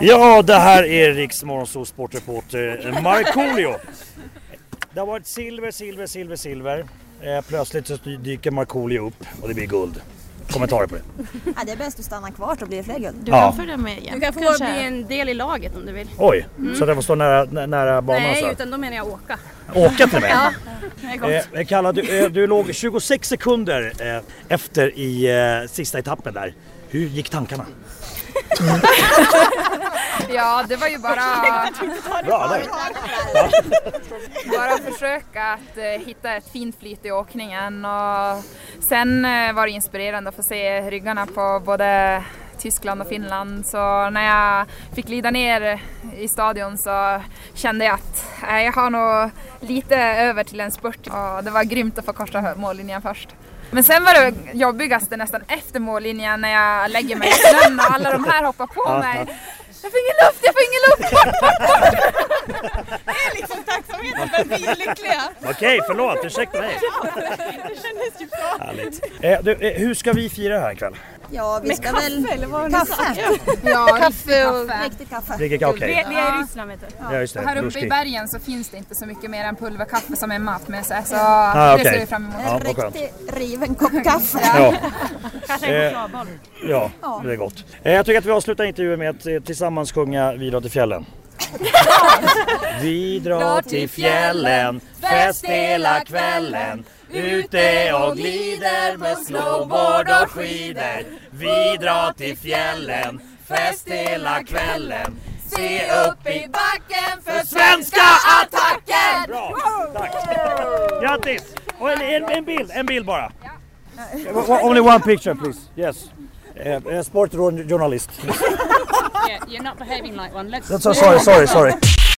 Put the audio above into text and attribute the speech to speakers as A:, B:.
A: Ja, det här är Riks Morgonzoo sportreporter eh, Markoolio. Det har varit silver, silver, silver, silver. Eh, Plötsligt så dyker Markoolio upp och det blir guld. Kommentarer på det.
B: Ja, det är bäst att stanna kvar så blir det fler guld.
C: Du
A: Ja.
C: kan följa med igen.
D: Du kan få
C: Kanske.
D: bli en del i laget om du vill.
A: Oj, så att jag får stå nära, nä- nära banan och
D: Nej,
A: så.
D: utan då menar jag åka.
A: Åka till mig.
D: Det är gott.
A: Eh, Kalla, du, eh, du låg 26 sekunder eh, efter i eh, sista etappen där. Hur gick tankarna?
E: Ja, det var ju bara,
A: Bra där.
E: bara försöka att eh, hitta ett fint flyt i åkningen och sen eh, var det inspirerande att få se ryggarna på både Tyskland och Finland så när jag fick glida ner i stadion så kände jag att eh, jag har nog lite över till en spurt och det var grymt att få korsa mållinjen först. Men sen var det jobbigaste nästan efter mållinjen när jag lägger mig i snön och alla de här hoppar på mig. Jag får ingen luft, jag får ingen luft!
B: Liksom tacksamheten för att vi är lyckliga.
A: Okej, förlåt. Ursäkta mig.
B: Det kändes ju bra.
A: Härligt. Eh, du, eh, hur ska vi fira här ikväll?
B: Ja, vi ska väl...
D: Eller vad har ni sagt?
B: Kaffe.
E: Ja, kaffe och
B: Riktigt kaffe.
A: Dricker okej?
D: Vi är- vi är i Ryssland vet du.
A: Ja, just det.
E: Här uppe
A: Rushdie.
E: i bergen så finns det inte så mycket mer än pulverkaffe som är mat med sig, så det
A: okej.
E: ser vi fram emot.
A: Ja,
B: En
A: vad skönt.
B: riktig riven kopp kaffe.
A: Ja, eh,
D: Kanske en chokladboll.
A: ja, det är gott. Eh, Jag tycker att vi avslutar intervjun med att eh, tillsammans sjunga Vi drar till fjällen. Vi drar till fjällen, fest hela kvällen. Ute och glider med snowboard och skidor. Vi drar till fjällen, fest hela kvällen. Se upp i
E: backen
A: för svenska attacken! Bra, tack. Grattis! Och en, en, en bild, en bild bara. O- Only one picture please. Yes. Uh, sportjournalist.
F: Yeah, you're not behaving like one. Let's
A: That's so sorry, sorry, sorry.